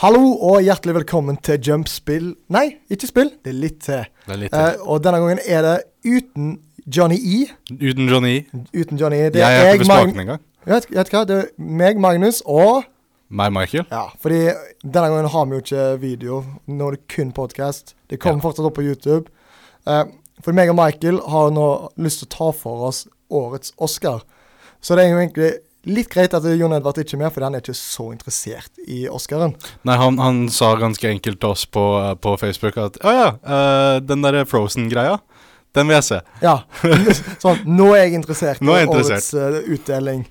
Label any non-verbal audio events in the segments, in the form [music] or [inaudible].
Hallo og hjertelig velkommen til Jumpspill Nei, ikke spill, det er litt til. Det er litt Eh, og denne gangen er det uten Johnny E. Uten Johnny. Uten Johnny E. Det jeg er er ikke jeg, på Mag smaken engang. vet, vet hva, det er meg, Magnus og Meg, Michael. Ja, fordi denne gangen har vi jo ikke video. Nå er det kun podkast. Det kommer fortsatt opp på YouTube. Eh, for meg og Michael har nå lyst til å ta for oss årets Oscar. Så det er jo egentlig litt greit at Jon Edvard ikke er med, for han er ikke så interessert i Oscaren. Nei, han, han sa ganske enkelt til oss på, eh, på Facebook at Å ja, eh, den derre Frozen-greia, den vil jeg se. Ja. [laughs] sånn, nå er jeg interessert Nå er jeg i årets eh, utdeling.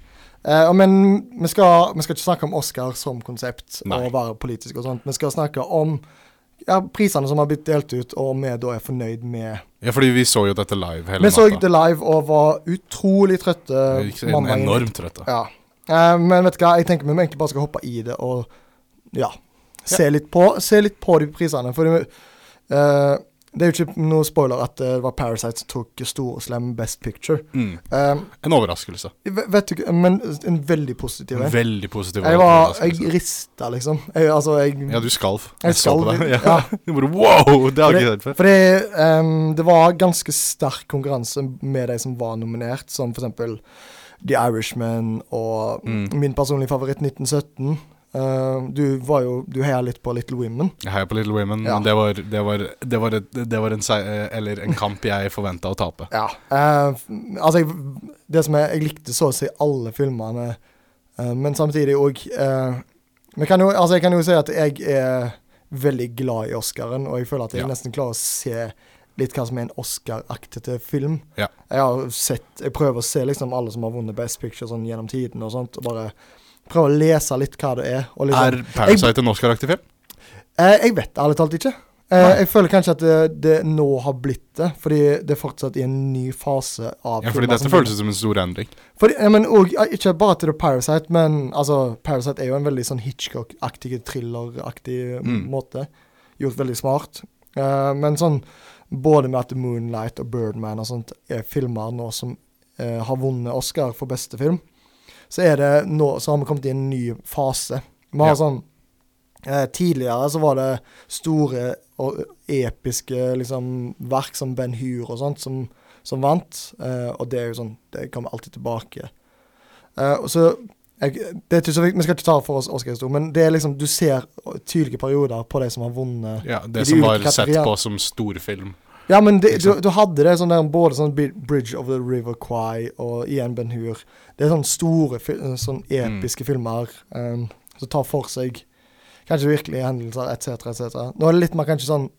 Eh, og men vi skal, vi skal ikke snakke om Oscar som konsept Nei. og være politisk og sånt. Vi skal snakke om ja, prisene som har blitt delt ut, og om vi da er fornøyd med Ja, fordi vi så jo dette live hele Vi så natta. det live og var utrolig trøtte Vi gikk en- mandagen. enormt trøtte. Ja. Eh, men vet du hva, jeg tenker vi må egentlig bare skal hoppe i det og ja, se, Litt, på, se litt på de prisene. For det, eh, det er jo ikke noe spoiler at eh, det var Parasite som tok stor og slem Best Picture. Mm. Eh, En overraskelse. v- vet du ikke, men en veldig positiv En en. veldig positiv Jeg var, overraskelse. jeg rista liksom. Jeg, altså, Ja, jeg du skalv. Jeg skalv, [laughs] Ja. ja. Du bare wow! Det har jeg ikke hørt før. Fordi ehm, det var ganske sterk konkurranse med de som var nominert, som for eksempel The Irishman og Mm. min personlige favoritt 1917. Eh, du var jo Du heia litt på Little Women. Jeg heier på Little Women, Ja. men det var, det var, det var, et, det var en, sei- eh, eller en kamp jeg forventa å tape. Ja. Eh, f- altså, jeg, det som jeg, jeg likte så å si alle filmene, eh, men samtidig òg uh, kan jo, altså, Jeg kan jo si at jeg er veldig glad i Oscaren, og jeg føler at jeg Ja. nesten klarer å se litt hva som er en Oscar-aktete film. Ja. Jeg har sett Jeg prøver å se liksom alle som har vunnet Best Picture sånn gjennom tiden, og sånt, og bare prøve å lese litt hva det er. Og liksom, Er Parasite en Oscar-aktig film? Eh, jeg vet det, ærlig talt ikke. Eh, jeg føler kanskje at det, det nå har blitt det, fordi det er fortsatt i en ny fase av Ja, filmer fordi dette som- føles som en stor endring. Fordi, ja, men, og, ja, Ikke bare til The Parasite, men altså, Parasite er jo en veldig sånn Hitchcock-aktig, thriller-aktig Mm. måte. Gjort veldig smart. Eh, men sånn både med at Moonlight og Birdman og sånt er filmer nå som eh, har vunnet Oscar for beste film, så er det nå Så har vi kommet i en ny fase. Vi har Ja. sånn eh, Tidligere så var det store og episke liksom, verk som Ben Hur og sånt som, som vant. Eh, og det er jo sånn Det kommer alltid tilbake. Eh, og så jeg, det er ikke så viktig, Vi skal ikke ta for oss Oscar-historien, men det er liksom, du ser tydelige perioder på de som har vunnet. Ja, I de Det som var ulike sett kategoriene. på som storfilm. Ja, men det, Ikke du, sant? du hadde det sånn der både sånn Bi- Bridge of the River Quay og igjen Ben Hur. Det er sånne store, fil- sånn Mm. episke filmer em, som tar for seg kanskje virkelige hendelser etc. etc. Nå er det litt mer kanskje sånn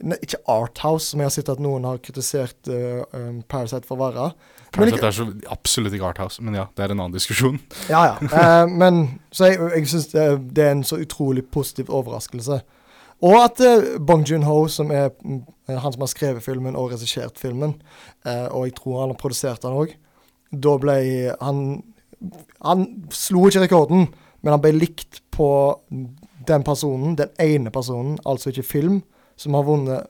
ne, Ikke Arthouse, som jeg har sett at noen har kritisert eh, em, Parasite for å være. Men Parasite er så absolutt ikke Arthouse, men ja, det er en annen diskusjon. Ja, ja. Eh, men så jeg, jeg syns det, det er en så utrolig positiv overraskelse. Og at eh, Bong Joon-ho, som er mm, han som har skrevet filmen og regissert filmen, eh, og jeg tror han har produsert den òg, da ble han Han slo ikke rekorden, men han ble likt på den personen, den ene personen, altså ikke film, som har vunnet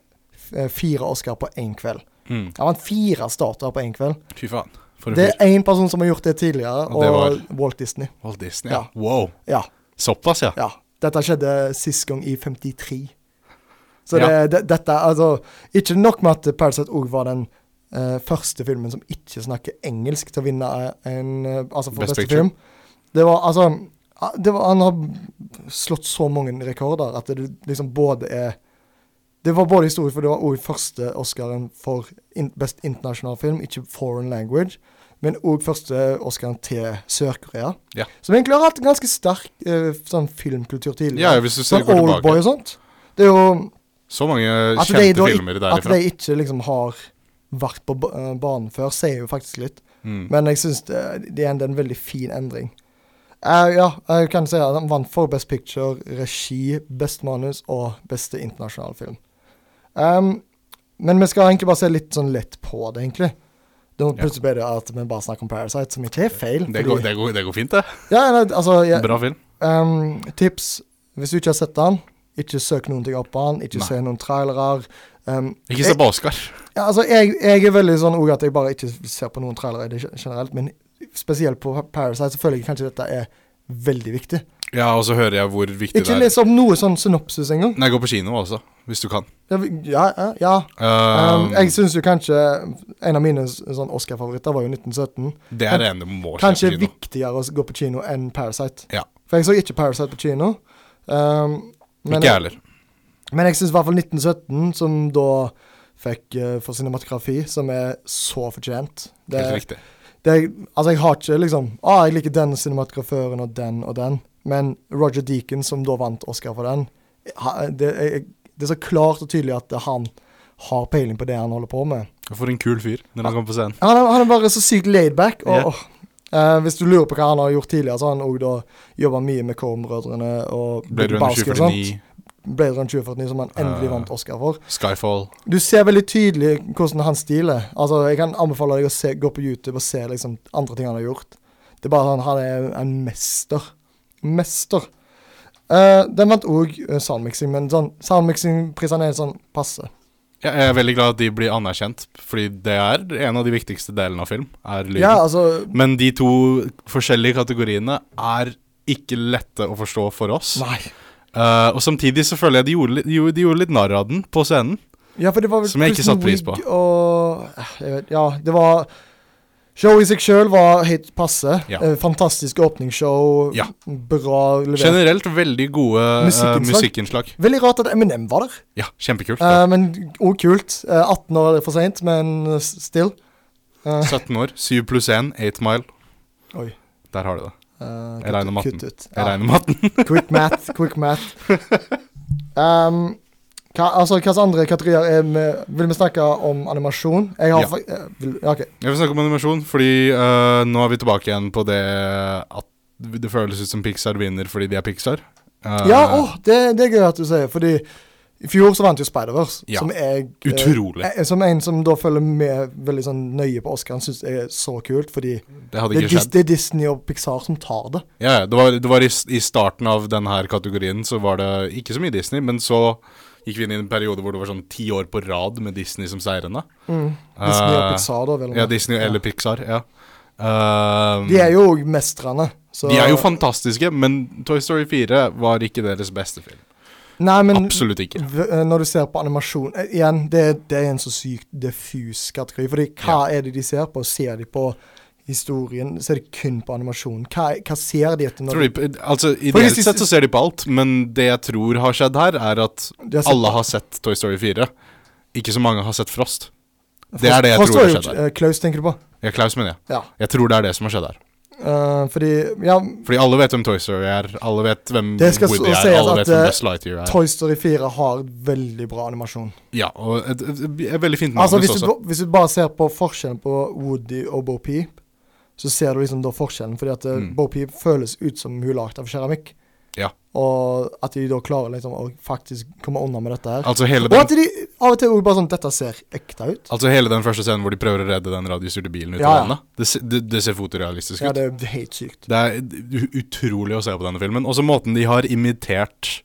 eh, fire Oscar på én kveld. Mm. Han vant fire starter på én kveld. Fy faen. For en Det fyr. er én person som har gjort det tidligere, Og det og Walt Disney. Walt Disney. Ja. Ja. Wow. Ja. Såpass, ja. ja. Dette skjedde sist gang i 53. Så Ja. det, det, dette altså Ikke nok med at Parasite òg var den eh, første filmen som ikke snakker engelsk til å vinne en eh, Altså for Best beste Picture. film. Det var altså ah, det var, Han har slått så mange rekorder at det liksom både er Det var både historie, for det var òg første Oscaren for in, best internasjonal film, ikke foreign language. Men òg første Oscaren til Sør-Korea. Ja. Som egentlig har hatt en ganske sterk eh, sånn filmkultur tidligere. Ja, hvis du ser, Sånn går Oldboy tilbake. og sånt. Det er jo Så mange at de, kjente da, filmer at derifra. de ikke liksom har vært på ba- eh, banen før, sier jo faktisk litt. Mm. Men jeg syns det, det er en, det er en veldig fin endring. Eh, ja, jeg kan si at han vant for Best Picture, regi, best manus og beste internasjonale film. Ehm, men vi skal egentlig bare se litt sånn lett på det, egentlig. Det må Ja. plutselig ble det at vi bare snakker om Parasite, som ikke er feil. Det, går, det, går, det går fint, det. Ja, nei, altså, jeg, Bra film. Ehm, tips hvis du ikke har sett den, ikke søk noen ting opp på den. Ikke Nei. se noen trailere. Ehm, Ikke se på Oscar. ja, altså, jeg, jeg er veldig sånn òg at jeg bare ikke ser på noen trailere i det gen- generelt, men spesielt på Parasite så føler jeg kanskje dette er veldig viktig. Ja, og så hører jeg hvor viktig Ikke det er. les opp noe sånn synopsis engang. Nei, gå på kino også, hvis du kan. Ja, vi- ja. ja, ja. Um, Um, jeg syns jo kanskje En av mine s- sånn Oscar-favoritter var jo 1917. det er det ene du må se Kanskje på kino. viktigere å s- gå på kino enn Parasite. Ja. For jeg så ikke Parasite på kino. Um, men, Ikke jeg heller. men jeg syns i hvert fall 1917, som da fikk eh, for cinematografi, som er så fortjent. Det, Helt riktig. det, altså, jeg har ikke liksom Å, ah, jeg liker den cinematograføren og den og den. Men Roger Deacon, som da vant Oscar for den, ha- det, er- det er så klart og tydelig at han har peiling på det han holder på med. For en kul fyr når han kommer på scenen. Han er, han er bare så sykt laidback. Og, Ja. åh, eh, hvis du lurer på hva han har gjort tidligere, så har han òg da jobba mye med Coen-brødrene og Blade Runner Lebowski og sånt. 2049, Blade Runner 2049, som han endelig Eh. vant Oscar for. Skyfall Du ser veldig tydelig hvordan han stiler. Altså, Jeg kan anbefale deg å se, gå på YouTube og se liksom andre ting han har gjort. Det er bare sånn, Han er en mester. Mester. Eh, den vant òg soundmixing, men sånn, soundmixing-prisene er sånn passe. Ja, Jeg er veldig glad at de blir anerkjent, fordi det er en av de viktigste delene av film. er lyden. Ja, altså Men de to forskjellige kategoriene er ikke lette å forstå for oss. Nei. Eh, og samtidig så føler jeg de gjorde, litt- de, gjorde, de gjorde litt narr av den på scenen. Ja, for det var vel Som jeg ikke Kristen satte pris på. Wiig Og eh, jeg vet, Ja, det var Showet i seg sjøl var helt passe. Ja. Eh, fantastisk åpningsshow. Ja. Bra levert. Generelt veldig gode eh, Musikkinnslag. musikkinnslag. Veldig rart at Eminem var der. Ja, kjempekult. Eh, men òg kult. Eh, 18 år er for seint, men eh, still. Eh, 17 år, 7 pluss 1, 8 mile. oi. Der har du det. eh, Jeg regner med kutt ut. Jeg Ja. regner med at den Quick math, quick math. [laughs] Um, hva, altså, hva slags andre kategorier er med, Vil vi snakke om animasjon? Jeg har Ja. fa- eh, vil- ja, OK. Jeg vil snakke om animasjon, fordi eh, nå er vi tilbake igjen på det at det føles ut som Pixar vinner fordi de er Pixar. Eh, Ja, åh, det, det er gøy at du sier, fordi i fjor så vant jo Spider-Verse, Ja. som jeg eh, Utrolig. eh, Som en som da følger med veldig sånn nøye på Oscar, syns er så kult, fordi det, det hadde er ikke Dis, skjedd. det er Disney og Pixar som tar det. Ja, ja, det var, det var i, s- i starten av denne kategorien så var det ikke så mye Disney, men så gikk vi inn i en periode hvor det var sånn ti år på rad med Disney som seirende. Disney og Eh, Pixar, da, vel. å Ja, merke. Disney eller Pixar, ja. Ehm, De er jo òg mestrene, så de er jo fantastiske, men Toy Story 4 var ikke deres beste film. Nei, men Absolutt ikke. v- eh, når du ser på animasjon eh, Igjen, det, det er en så sykt diffus kategori. Fordi hva er det de ser på? Ser de på historien? Ser de kun på animasjonen? Hva, hva ser de etter? når Tror de- de, på- altså, For hvis ideelt de- sett så ser de på alt, men det jeg tror har skjedd her, er at de har sett- alle har sett Toy Story 4. Ikke så mange har sett Frost. Det er det jeg Frost tror var har jo, skjedd her. eh, Klaus, tenker du på? Ja, Klaus, mener jeg. Ja. Jeg tror det er det som har skjedd her. Eh, fordi Ja, Fordi alle vet hvem Toy Story er, alle vet hvem Det skal Woody så er, sies alle at, vet hvem eh, Buzz Lightyear er. Toy Story 4 har veldig bra animasjon. Ja, og et, et, et, et veldig fint manus Altså hvis også. du, hvis du bare ser på forskjellen på Woody og Bo Peep, så ser du liksom da forskjellen. Fordi at eh, Mm. Bo Peep føles ut som hun er lagd av keramikk. Ja. Og at de da klarer liksom å faktisk komme unna med dette her. Altså hele, Og den, at de av og til også bare sånn Dette ser ekte ut. altså hele den første scenen hvor de prøver å redde den radiostyrte bilen ut Ja, av ja. vannet. Det, se- det, det ser fotorealistisk Ja, ut. det er helt sykt. Det er u- utrolig å se på denne filmen. Også måten de har imitert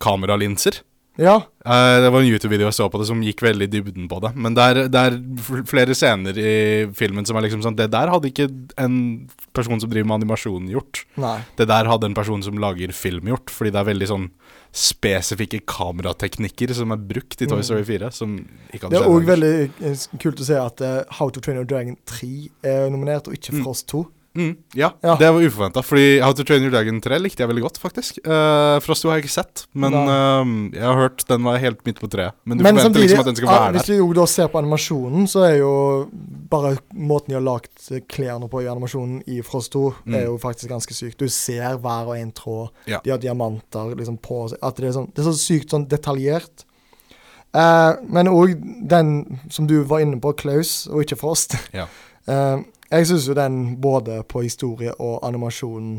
kameralinser. Ja. Eh, det var en YouTube-video jeg så på det som gikk veldig i dybden på det. Men det er, det er fl- flere scener i filmen som er liksom sånn Det der hadde ikke en person som driver med animasjon gjort. Nei. Det der hadde en person som lager film gjort, fordi det er veldig sånn spesifikke kamerateknikker som er brukt i Toy Mm. Story 4, som ikke Det hadde er skjedd òg ellers. veldig eh, kult å se at eh, How to Train Your Dragon 3 er nominert, og ikke Mm. Frost 2. Mm, ja, Ja. det var uforventa. Fordi How to Train Your Dragon 3 likte jeg veldig godt, faktisk. Uh, Frost 2 har jeg ikke sett, men eh, jeg har hørt den var helt midt på treet. Men du forventer liksom at den skal ah, være hvis der. vi jo da ser på animasjonen, så er jo bare måten de har lagt eh, klærne på i animasjonen i Frost 2, Mm. er jo faktisk ganske sykt. Du ser hver og en tråd. Ja. De har diamanter liksom på seg. At det, er sånn, det er så sykt sånn detaljert. Eh, men òg den som du var inne på, Klaus, og ikke Frost. Ja. [laughs] Eh, jeg syns jo den både på historie og animasjonen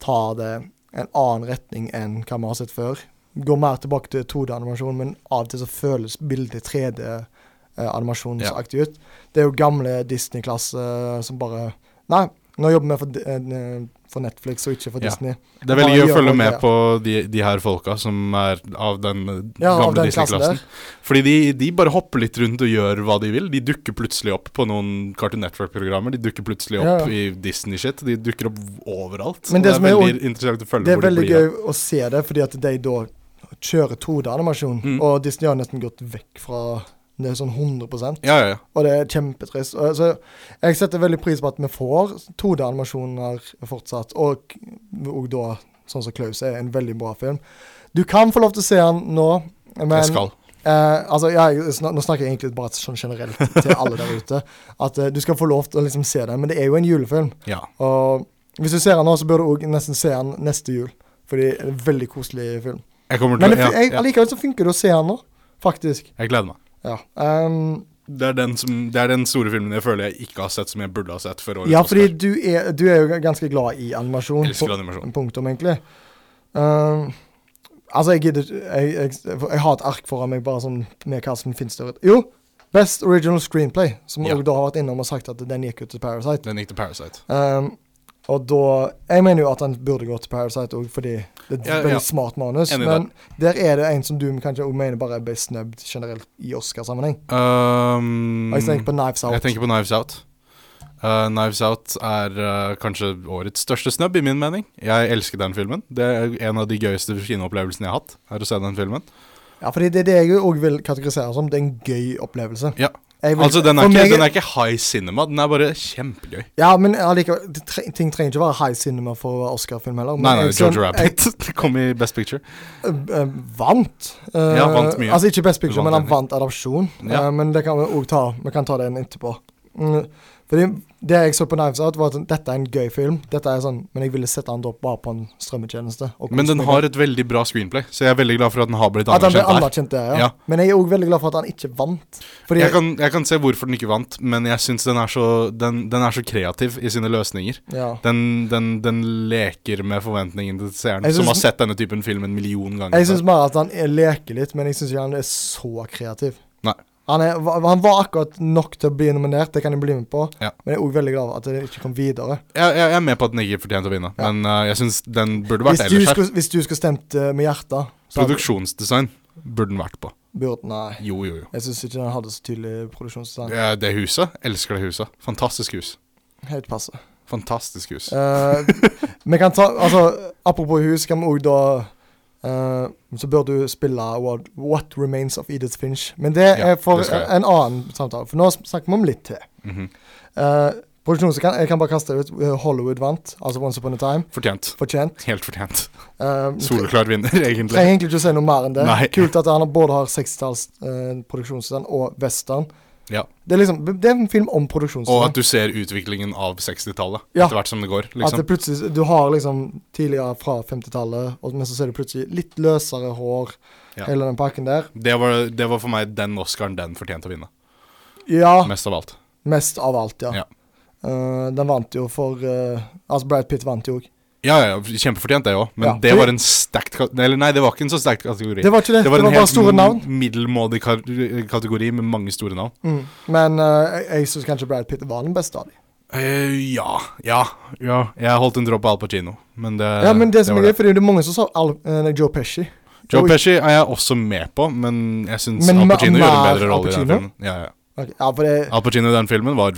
tar det en annen retning enn hva vi har sett før går mer tilbake til 2D-animasjon, men av og til så føles bildet 3D-animasjon Ja. så aktig eh, ut. Det er jo gamle Disney-klasse som bare Nei, nå jobber vi for, eh, for Netflix og ikke for Ja. Disney. Det er veldig Ja, gøy å ja, følge ok, med ja. på de, de her folka som er av den eh, Ja, av gamle den klassen Disney-klassen. Fordi de, de bare hopper litt rundt og gjør hva de vil. De dukker plutselig opp på noen Cartoon Network-programmer. De dukker plutselig Ja, opp ja. i Disney-shit. De dukker opp overalt. Men Og det det, som er er jo- veldig interessant å følge Det er hvor de veldig blir. gøy å se det, fordi at de da kjører 2D-animasjon. Mm. Og Disney har nesten gått vekk fra det sånn 100 Ja, ja, ja. Og det er kjempetrist. Og, så, jeg setter veldig pris på at vi får 2D-animasjoner fortsatt, og, og da sånn som Klaus er en veldig bra film. Du kan få lov til å se den nå, men jeg skal. Eh, altså, jeg, snak- Nå snakker jeg egentlig bare sånn generelt til alle der ute. At eh, du skal få lov til å liksom se den, men det er jo en julefilm. Ja. Og hvis du ser den nå, så bør du òg nesten se den neste jul. Fordi det er en veldig koselig film. Jeg kommer Men til det, å ja, jeg, ja. allikevel så funker det å se den nå, faktisk. Jeg gleder meg. Ja. Ehm, Det er, den som, det er den store filmen jeg føler jeg ikke har sett, som jeg burde ha sett før årets ja, fordi Oscar. du er, du er jo ganske glad i animasjon. Jeg Elsker Pu- animasjon. Punktum, egentlig. Ehm, altså, jeg gidder ikke- jeg, jeg, jeg har et ark foran meg bare sånn med hva som finnes der ute. Jo, Best Original Screenplay, som Ja. også da har vært innom og sagt at den gikk jo til Parasite. Den gikk til Parasite. Ehm, og da Jeg mener jo at den burde gå til Parasite òg, fordi det er et Ja, ja. veldig smart manus. Enig i men der er det en som du kanskje også mener bare ble snubbed generelt i Oscar-sammenheng. Um, Og Jeg tenker på Knives Out. Jeg tenker på Knives Out. Eh, Knives Out er eh, kanskje årets største snubb, i min mening. Jeg elsker den filmen. Det er en av de gøyeste kinoopplevelsene jeg har hatt. Er å se den filmen Ja, fordi det er det jeg òg vil kategorisere som. Det er en gøy opplevelse. Ja. Jeg vil- Altså, den er, for ikke, meg- den er ikke high cinema, den er bare kjempegøy. Ja, men allikevel, det tre, ting trenger ikke være high cinema for å være Oscar-film heller. men Nei, nei, jeg- sånn- Georgia Rabbit [laughs] kom i Best Picture. Jeg, eh, vant. Eh, Ja, vant mye. Altså ikke Best Picture, men Vant han Emmy. vant adopsjon. Ja. Eh, men det kan vi òg ta. Vi kan ta den etterpå. Mm, fordi det jeg så på Knives Out, var at dette er en gøy film. Dette er sånn, Men jeg ville sette den opp bare på en strømmetjeneste. og Men kose den meg. har et veldig bra screenplay, så jeg er veldig glad for at den har blitt At han ble anerkjent der. anerkjent der, ja. Ja. Men jeg er òg veldig glad for at han ikke vant. Fordi Jeg kan, jeg kan se hvorfor den ikke vant, men jeg syns den, er så- den, den er så kreativ i sine løsninger. ja. Den, den, den leker med forventningene til seeren, Jeg som har synes- sett denne typen film en million ganger. Jeg syns bare at han er- leker litt, men jeg syns ikke han er så kreativ. Nei. Han, er, va- han var akkurat nok til å bli nominert, det kan jeg bli med på, Ja. men jeg er òg veldig glad for at det ikke kom videre. jeg, jeg, jeg er med på at den ikke fortjente å vinne, Ja. men eh, jeg syns den burde Hvis vært du, ellers her. skulle, hvis du skulle stemt eh, med hjertet så hadde- Produksjonsdesign burde den vært på. burde, Nei. Jo, jo, jo. Jeg syns ikke den hadde så tydelig produksjonsdesign. Det, det huset. Elsker det huset. Fantastisk hus. Helt passe. Fantastisk hus. Eh, [laughs] vi kan ta Altså, apropos hus, kan vi òg da eh, Så bør du spille What, What Remains of Edith Finch. Men det Ja, er for det skal jeg. en annen samtale, for nå snakker vi om litt til. Mhm. Eh, produksjonen som kan, jeg kan bare kaste ut eh, Hollywood vant, altså Once Upon a Time. Fortjent. Fortjent. Helt [laughs] fortjent. Uh, Soleklar vinner, [laughs] egentlig. trenger egentlig ikke å si noe mer enn det. Nei. Kult at han både har 60-talls eh, produksjonsdesign og western. Ja. Det er liksom, det er en film om Og produksjonsdesign. at du ser utviklingen av 60-tallet Ja. etter hvert som det går. At liksom. det plutselig, du har liksom tidligere fra 50-tallet, og- men så ser du plutselig litt løsere hår, Ja. hele den pakken der. Det var, det var for meg den Oscaren den fortjente å vinne. Ja, Mest av alt. mest av alt, ja. Ja. Eh, den vant jo for eh, Altså, Brad Pitt vant jo òg. Ja, ja, kjempefortjent det òg, men Ja. det var en sterkt ka- Eller nei, det var ikke en så sterk kategori. Det var ikke det. Det var, en bare store navn. helt m- middelmådig kar- kategori med mange store navn. Mm. Men eh, jeg, jeg syns kanskje Brad Pitt var den beste av dem. Eh, ja, ja, ja. Jeg holdt en dråpe Al Pacino, men Eh, det, Ja, men det som var er gøy, fordi det er mange som sa Al, eh, nei, Joe Pesci. Joe Oi. Pesci er jeg også med på, men jeg syns Men Al ma- Pacino gjør en mer bedre Al rolle i den Pacino? filmen. Ja, ja. Ok, Ja, for det, Al Pacino i den filmen var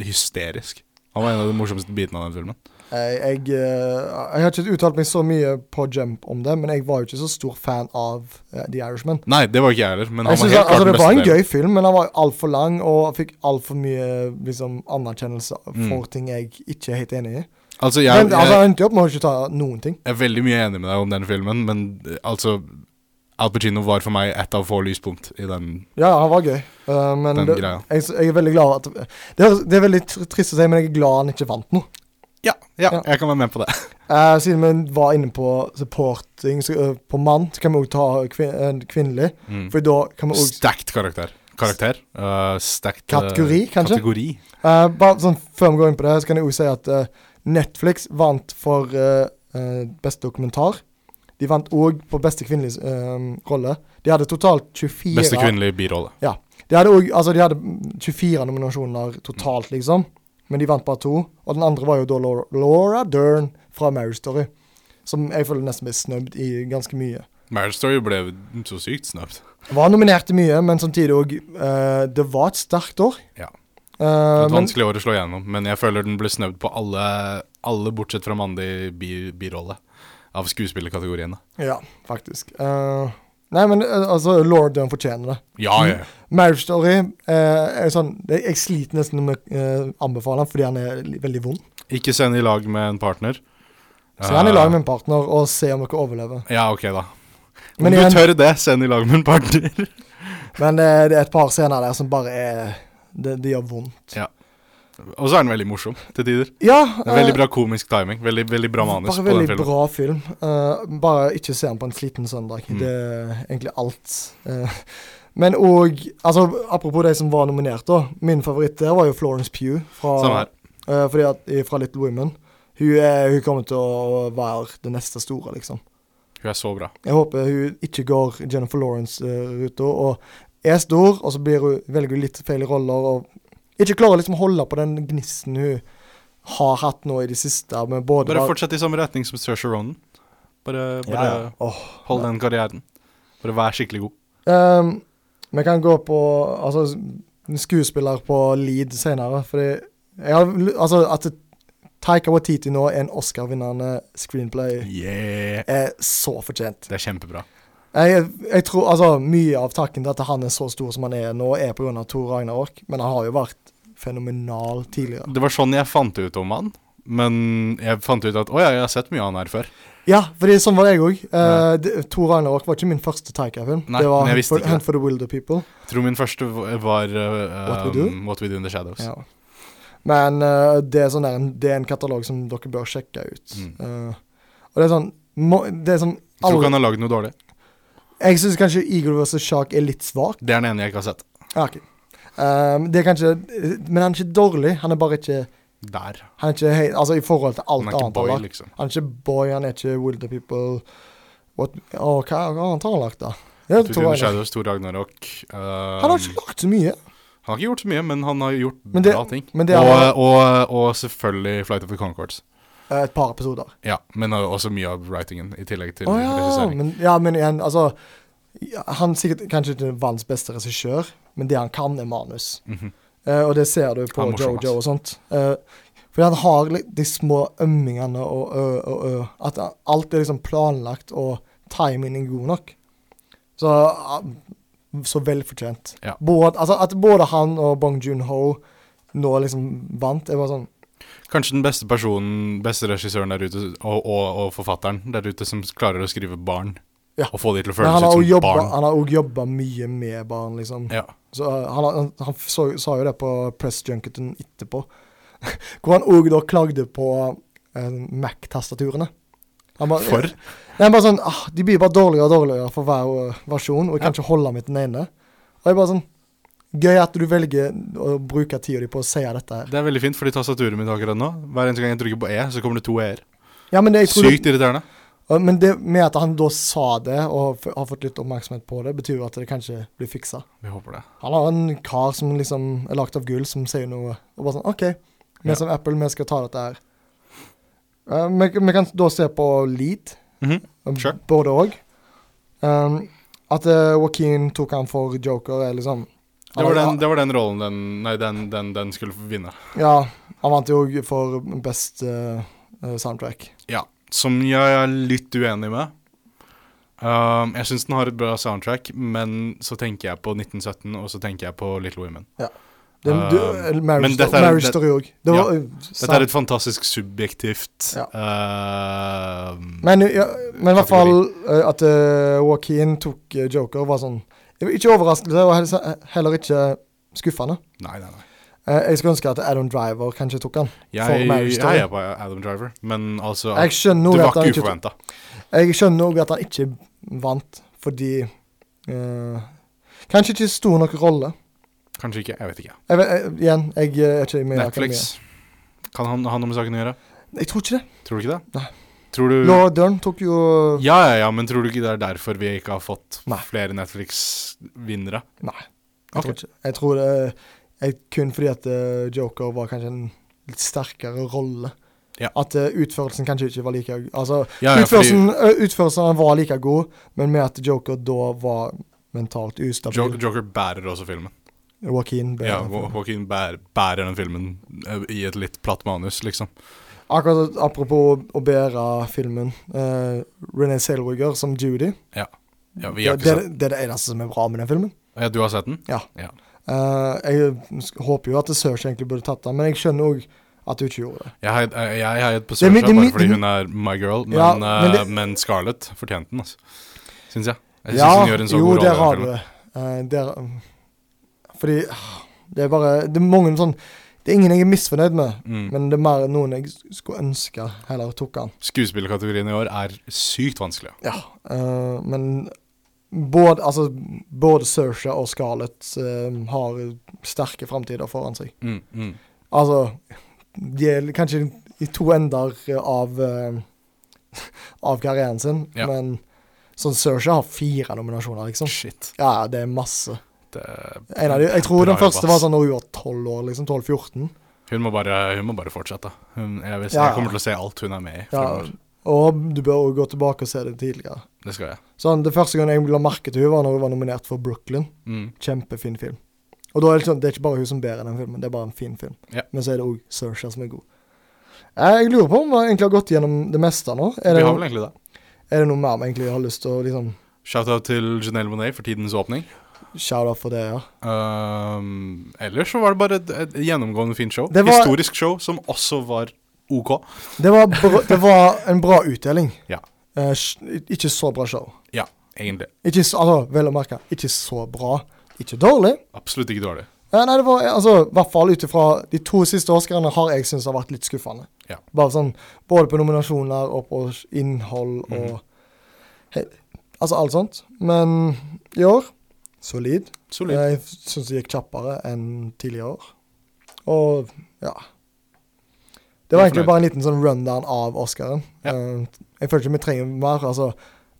hysterisk. Han var en av de morsomste bitene av den filmen. jeg, jeg, eh, jeg har ikke uttalt meg så mye på Jump om det, men jeg var jo ikke så stor fan av eh, The Irishman. Nei, det var ikke jeg heller, men han Jeg var synes, helt han- altså, klart den det var en beste delen. gøy film, men han var altfor lang og fikk altfor mye liksom, anerkjennelse for Mm. ting jeg ikke er helt enig i. Altså, jeg, Men jeg, altså, han endte jo opp med å ikke ta noen ting. jeg er veldig mye enig med deg om den filmen, men eh, altså Al Pacino var for meg ett av få lyspunkt i den Ja, han var gøy, eh, men Den det, greia. jeg, jeg er veldig glad at det, er, det er veldig tr- trist å si, men jeg er glad han ikke vant noe. Ja, ja, Ja. jeg kan være med på det. Eh, siden vi var inne på supporting så, eh, på mann, så kan vi òg ta kvin en kvinnelig. Mm. For da kan vi òg Stacked karakter. Karakter. Uh, stacked, eh, Kategori, kanskje? Kategori. eh, Bare sånn før vi går inn på det, så kan jeg òg si at eh, Netflix vant for eh, eh, beste dokumentar. De vant òg på beste kvinnelige eh, rolle. De hadde totalt 24 Beste kvinnelige birolle. De hadde, også, altså, de hadde mm, 24 Mm. nominasjoner totalt, liksom. Men de vant bare to. Og den andre var jo da Laura, Laura Dern fra Marriage Story. Som jeg føler nesten ble snubbed i ganske mye. Marriage Story ble så sykt snapt. Var nominert til mye, men samtidig òg Det var et sterkt år. Ja. Eh, Et men vanskelig år å slå gjennom, men jeg føler den ble snøvd på alle, alle bortsett fra mandig bi- birolle av skuespillerkategoriene. Ja, faktisk. Eh, nei, men eh, altså, Lord Dunn fortjener det. Ja, Mm. ja. ja. Marriage Story eh, er sånn det, Jeg sliter nesten med å eh, anbefale han fordi han er li- veldig vond. Ikke send i lag med en partner. Så han er i Ah. lag med en partner og ser om dere overlever. Eh, Ja, ok, da. Om Men, du igjen, tør det, send i lag med en partner. [laughs] men det, det er et par scener der som bare er Det, det gjør vondt. Og så er den veldig morsom til tider. Ja. eh, Det er veldig bra komisk timing. Veldig, veldig bra manus Bare på den veldig filmen. bra film. Eh, bare ikke se den på en sliten søndag. Mm. Det er egentlig alt. Eh, men òg altså, Apropos de som var nominert, da. Min favoritt der var jo Florence Pugh fra, Samme her. eh, fordi at, fra Little Women. Hun, er, hun kommer til å være det neste store, liksom. Hun er så bra. Jeg håper hun ikke går Jennifer Lawrence-ruta og er stor, og så blir hun, velger hun litt feil roller og ikke klarer liksom å holde på den gnisten hun har hatt nå i det siste. Med både Bare fortsett i samme retning som Saoirse Ronan. Bare, Ja, bare ja. Åh. hold den karrieren. Bare vær skikkelig god. Ehm, Vi kan gå på altså, skuespiller på lead senere, fordi jeg har, l- altså, at Taika Waititi nå er en Oscar-vinnende screenplay, Yeah. er så fortjent. Det er kjempebra. Jeg, jeg tror altså, Mye av takken til at han er så stor som han er nå, er pga. Tor Ragnarok, men han har jo vært fenomenal tidligere. Det var sånn jeg fant ut om han. Men jeg fant ut at å ja, jeg har sett mye av han her før. Ja, fordi sånn var jeg òg. Ja. Tor Ragnarok var ikke min første Taika-film. Nei, Det var men jeg Hunt visste for, ikke det. Hunt for the Wilder People. Tror min første v- var eh, What We Do? um, What We Do in the Shadows. Ja. Men eh, det, er sånn der, det er en katalog som dere bør sjekke ut. Mm. Eh, og det er sånn må, Det er sånn Jeg tror aldri- ikke han har lagd noe dårlig. Jeg syns kanskje Eagle vs. Shark er litt svak. Det er den ene jeg ikke har sett. Ja, ok. Ehm, det er kanskje Men han er ikke dårlig. Han er bare ikke Der. Han er ikke helt Altså i forhold til alt Han er ikke annet. han boy, har lagt. liksom. Han er ikke boy, han er ikke Wilder People What, Å, hva, hva annet har han lagt, da? Ja, What We Thor Do in the Ragnarok. Shadows, Thor Ragnarok. Um, han har ikke lagt så mye. han har ikke gjort så mye, men han har gjort Men det- bra ting. men det og, er- og, og selvfølgelig Flight of the Concords. Eh, Et par episoder. Ja, men også mye av writingen, i tillegg til Å ja, regissering. men, ja, men igjen, altså ja, Han er sikkert kanskje ikke verdens beste regissør, men det han kan, er manus. Mhm. Eh, og det ser du på Han er morsom, Jojo og sånt. Eh, fordi han har li- de små ømmingene og ø og ø. At a- alt er liksom planlagt, og timingen er god nok. Så ah, så velfortjent. Ja. Både, altså, at både han og Bong Joon-ho nå liksom vant, er bare sånn Kanskje den beste personen, beste regissøren der ute, og, og, og forfatteren der ute, som klarer å skrive barn. Ja. Og få de til å Men føles han har ut som jo jobba- barn. han har òg jobba mye med barn, liksom. Ja. Så uh, han, han, han så, sa jo det på press junketen etterpå. [laughs] Hvor han òg da klagde på eh, Mac-tastaturene. Han bare- For? Nei, han bare sånn ah, De blir bare dårligere og dårligere for hver eh, versjon, og jeg kan ikke holde meg til den ene. Og jeg bare sånn Gøy at du velger å bruke tida di på å si dette her. Det er veldig fint, fordi tastaturet mitt akkurat nå Hver eneste gang jeg trykker på E, så kommer det to E-er. Ja, men, det, jeg tror Sykt irriterende. Det, men det med at han da sa det, og f har fått litt oppmerksomhet på det, betyr jo at det kanskje blir fiksa. Vi håper det. Han har en kar som liksom er lagt av gull, som sier noe. Og bare sånn OK, vi Ja. som Apple, vi skal ta dette her. Eh, Vi vi kan da se på Lead, Mhm. Sure. både òg. at eh, Joaquin tok han for joker, er liksom det, var den, han, det var den rollen den Nei, den, den, den skulle vinne. Ja, han vant jo for best eh, eh, soundtrack. Ja. Som jeg er litt uenig med. Um, jeg syns den har et bra soundtrack, men så tenker jeg på 1917, og så tenker jeg på Little Women. Det, Eh, du, eh, marriage, men dette Sto- er- marriage det- Story òg. Det ja. var, eh, Dette er sound- et fantastisk subjektivt Ja. um, Men, ja, men i hvert fall eh, at eh, Joaquin tok eh, Joker, var sånn det var Ikke overraskelse, og helse- heller ikke skuffende. Nei, nei, nei. Eh, jeg skulle ønske at Adam Driver kanskje tok han. Jeg, Marriage Story. jeg er på Adam Driver, men altså Jeg skjønner Det òg var at, han ikke- ikke uforventa. jeg skjønner også at han ikke vant, fordi eh, Kanskje ikke stor nok rolle. Kanskje ikke. Jeg vet ikke. Jeg, vet- jeg, igjen, jeg eh, er ikke med i Netflix. Kan han ha noe med saken å gjøre? akademiet. Jeg tror ikke det. Tror du ikke det? Nei. Tror du Laura Dern tok jo Ja, ja, ja, men tror du ikke det er derfor vi ikke har fått Nei. flere Netflix-vinnere? Nei. Jeg Ok. tror ikke Jeg tror eh, det er kun fordi at eh, Joker var kanskje en litt sterkere rolle. Ja. At eh, utførelsen kanskje ikke var like Altså, Ja, ja, utførelsen, ø, utførelsen var like god, men med at Joker da var mentalt fordi ustabil. Jo- Joker bærer også filmen. Joaquin ble Ja, Wa- Joaquin bærer, bærer den filmen eh, i et litt platt manus, liksom. Akkurat apropos å bære filmen. eh, Renee Zellweger som Judy. Ja, vi det, har ikke sett det, det er det eneste som er bra med den filmen. ja, Du har sett den? Eh, jeg sk- håper jo at Search egentlig burde tatt den, men jeg skjønner òg at hun ikke gjorde det. Jeg heiet- jeg- jeg heiet på Det er mi- Saoirse det er mi- bare det fordi er hun er my girl, men, Ja, eh, men men, det- Scarlett fortjente den, altså. Syns jeg. Jeg syns ja, hun gjør en så jo, god rolle. i der den har du filmen. det. Eh, der, mm, fordi ah, det er bare Det er mange sånn Det er ingen jeg er misfornøyd med, Mm. men det er mer noen jeg s- skulle ønske heller tok den. Skuespillerkategorien i år er sykt vanskelig. Ja, eh, men både, altså, både Sersha og Scarlett eh, har sterke framtider foran seg. Mm, mm. Altså, de er kanskje i to ender av, eh, av karrieren sin, Ja. men sånn Sersha har fire nominasjoner, liksom. Shit. Ja, det er masse. Det, En av de, jeg tror Bra den første jobba, var ass. sånn når hun var tolv år, liksom. 12-14. hun, må bare, hun må bare fortsette. Hun, jeg, vil, Ja, ja. jeg kommer til å se alt hun er med i. Ja, fremover. og du bør jo gå tilbake og se det tidligere. Det skal jeg. Sånn, Det første gangen jeg la merke til hun var når hun var nominert for Brooklyn. Mm. Kjempefin film. Og da er det, sånn, det er ikke bare hun som bærer den filmen, det er bare en fin film. Ja. Men så er det òg Sersha som er god. Eh, Jeg lurer på om vi egentlig har gått gjennom det meste nå. Er Vi det, har noe- vel egentlig det. er det noe mer vi egentlig har lyst til å liksom Shout-out til Janelle Monet for tidens åpning. shout out for det, ja? Um, ellers så var det bare et, et gjennomgående fint show. Det var- Historisk show som også var OK. Det var, bra, det var en bra utdeling. Ja. Eh, sj- ikke så bra show. Egentlig. Ikke så, altså, vel å merke, ikke så bra. Ikke dårlig. Absolutt ikke dårlig. Ja, nei, det var altså, i hvert fall ut ifra de to siste Oscarene har jeg syntes har vært litt skuffende. Ja. Bare sånn, Både på nominasjoner og på innhold og Mhm. he, Altså alt sånt. Men i år solid. Solid. Jeg syns det gikk kjappere enn tidligere år. Og ja. Det var Jeg er egentlig fornøyd. bare en liten sånn rundown av Oscaren. Ja. Eh, jeg føler ikke vi trenger mer. altså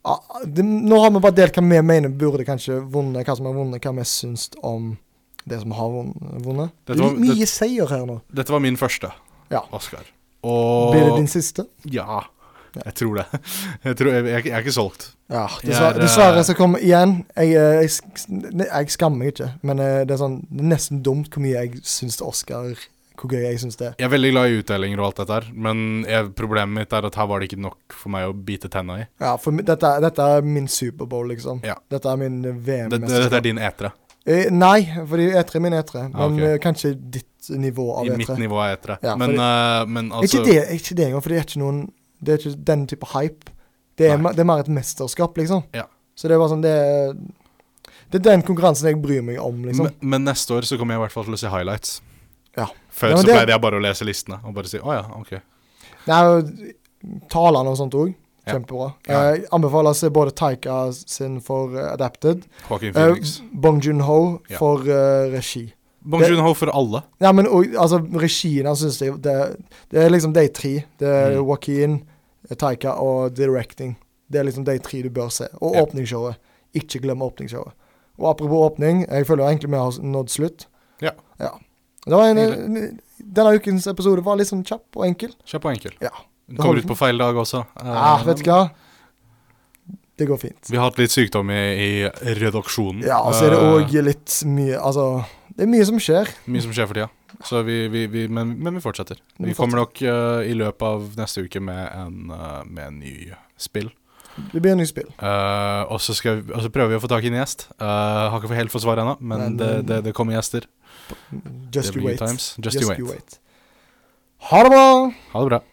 ah, det, Nå har vi bare delt hva vi mener burde kanskje vunnet, hva som har vunnet, hva vi syns om det som har vun- vunnet. Dette var- det er mye seier her nå. Dette var min første Ja. Oscar. Og Blir det din siste? Ja. Ja. Jeg tror det. [laughs] Jeg, tror, jeg, jeg, jeg er ikke solgt. Ja, Jeg dessverre, er, eh, dessverre så kommer igjen. Jeg, eh, jeg, sk- ne- jeg skammer meg ikke, men eh, det er sånn det er nesten dumt hvor mye jeg syns Oscar Hvor gøy jeg syns det er. Jeg er veldig glad i utdelinger og alt dette her, men jeg, problemet mitt er at her var det ikke nok for meg å bite tenna i. Ja, for mi- dette, er- dette er min Superbowl, liksom. Ja. Dette er min Dette, dette er VM-mesterskap. din E etere. Nei, fordi E3 er min E3, men Ah, ok. eh, kanskje ditt nivå av I mitt E3. nivå er etere. E Ja, men, fordi- eh, men altså ikke, det, ikke det engang, for det er ikke noen Det er ikke den type hype. Det er, Nei. me- det er mer et mesterskap, liksom. Ja. Så det er bare sånn Det er, det er den konkurransen jeg bryr meg om, liksom. men, men neste år så kommer jeg i hvert fall til å se highlights. Ja. Før Ja, men så det- pleide jeg bare å lese listene og bare si å ja, ok. Det er jo talene og sånt òg. Ja. Kjempebra. Eh, Ja. Jeg anbefaler å se både Taika sin for eh, Adapted, Joaquin eh, Phoenix. Bong Joon-ho Ja. for eh, regi. Bong det- Joon-ho for alle. Ja, men og, altså, regien han synes jeg det, det er liksom de tre. Det er Mm. Joaquin, Taika og directing. Det er liksom de tre du bør se. Og Ja. åpningsshowet. Ikke glem åpningsshowet. Og apropos åpning, jeg føler egentlig vi har nådd slutt. Ja. Det var en, denne ukens episode var litt sånn kjapp og enkel. Kjapp og enkel. Ja. Kommer ut på feil dag også. Eh, Ah, vet du hva? Det går fint. Vi har hatt litt sykdom i, i redaksjonen. Ja, og så er det Eh, òg litt mye Altså, det er mye som skjer. Mye som skjer for tida. Så vi, vi, vi, men, men vi fortsetter. Men vi Vi kommer nok eh, i løpet av neste uke med en, eh, med en ny spill. Det blir nye spill. Eh, og så skal vi- og så prøver vi å få tak i en gjest. Eh, har ikke fått helt fått svar ennå, men, Men- eh, det, det, det kommer gjester. Just det you blir wait. times. Just, you wait. Ha det bra! Ha det bra.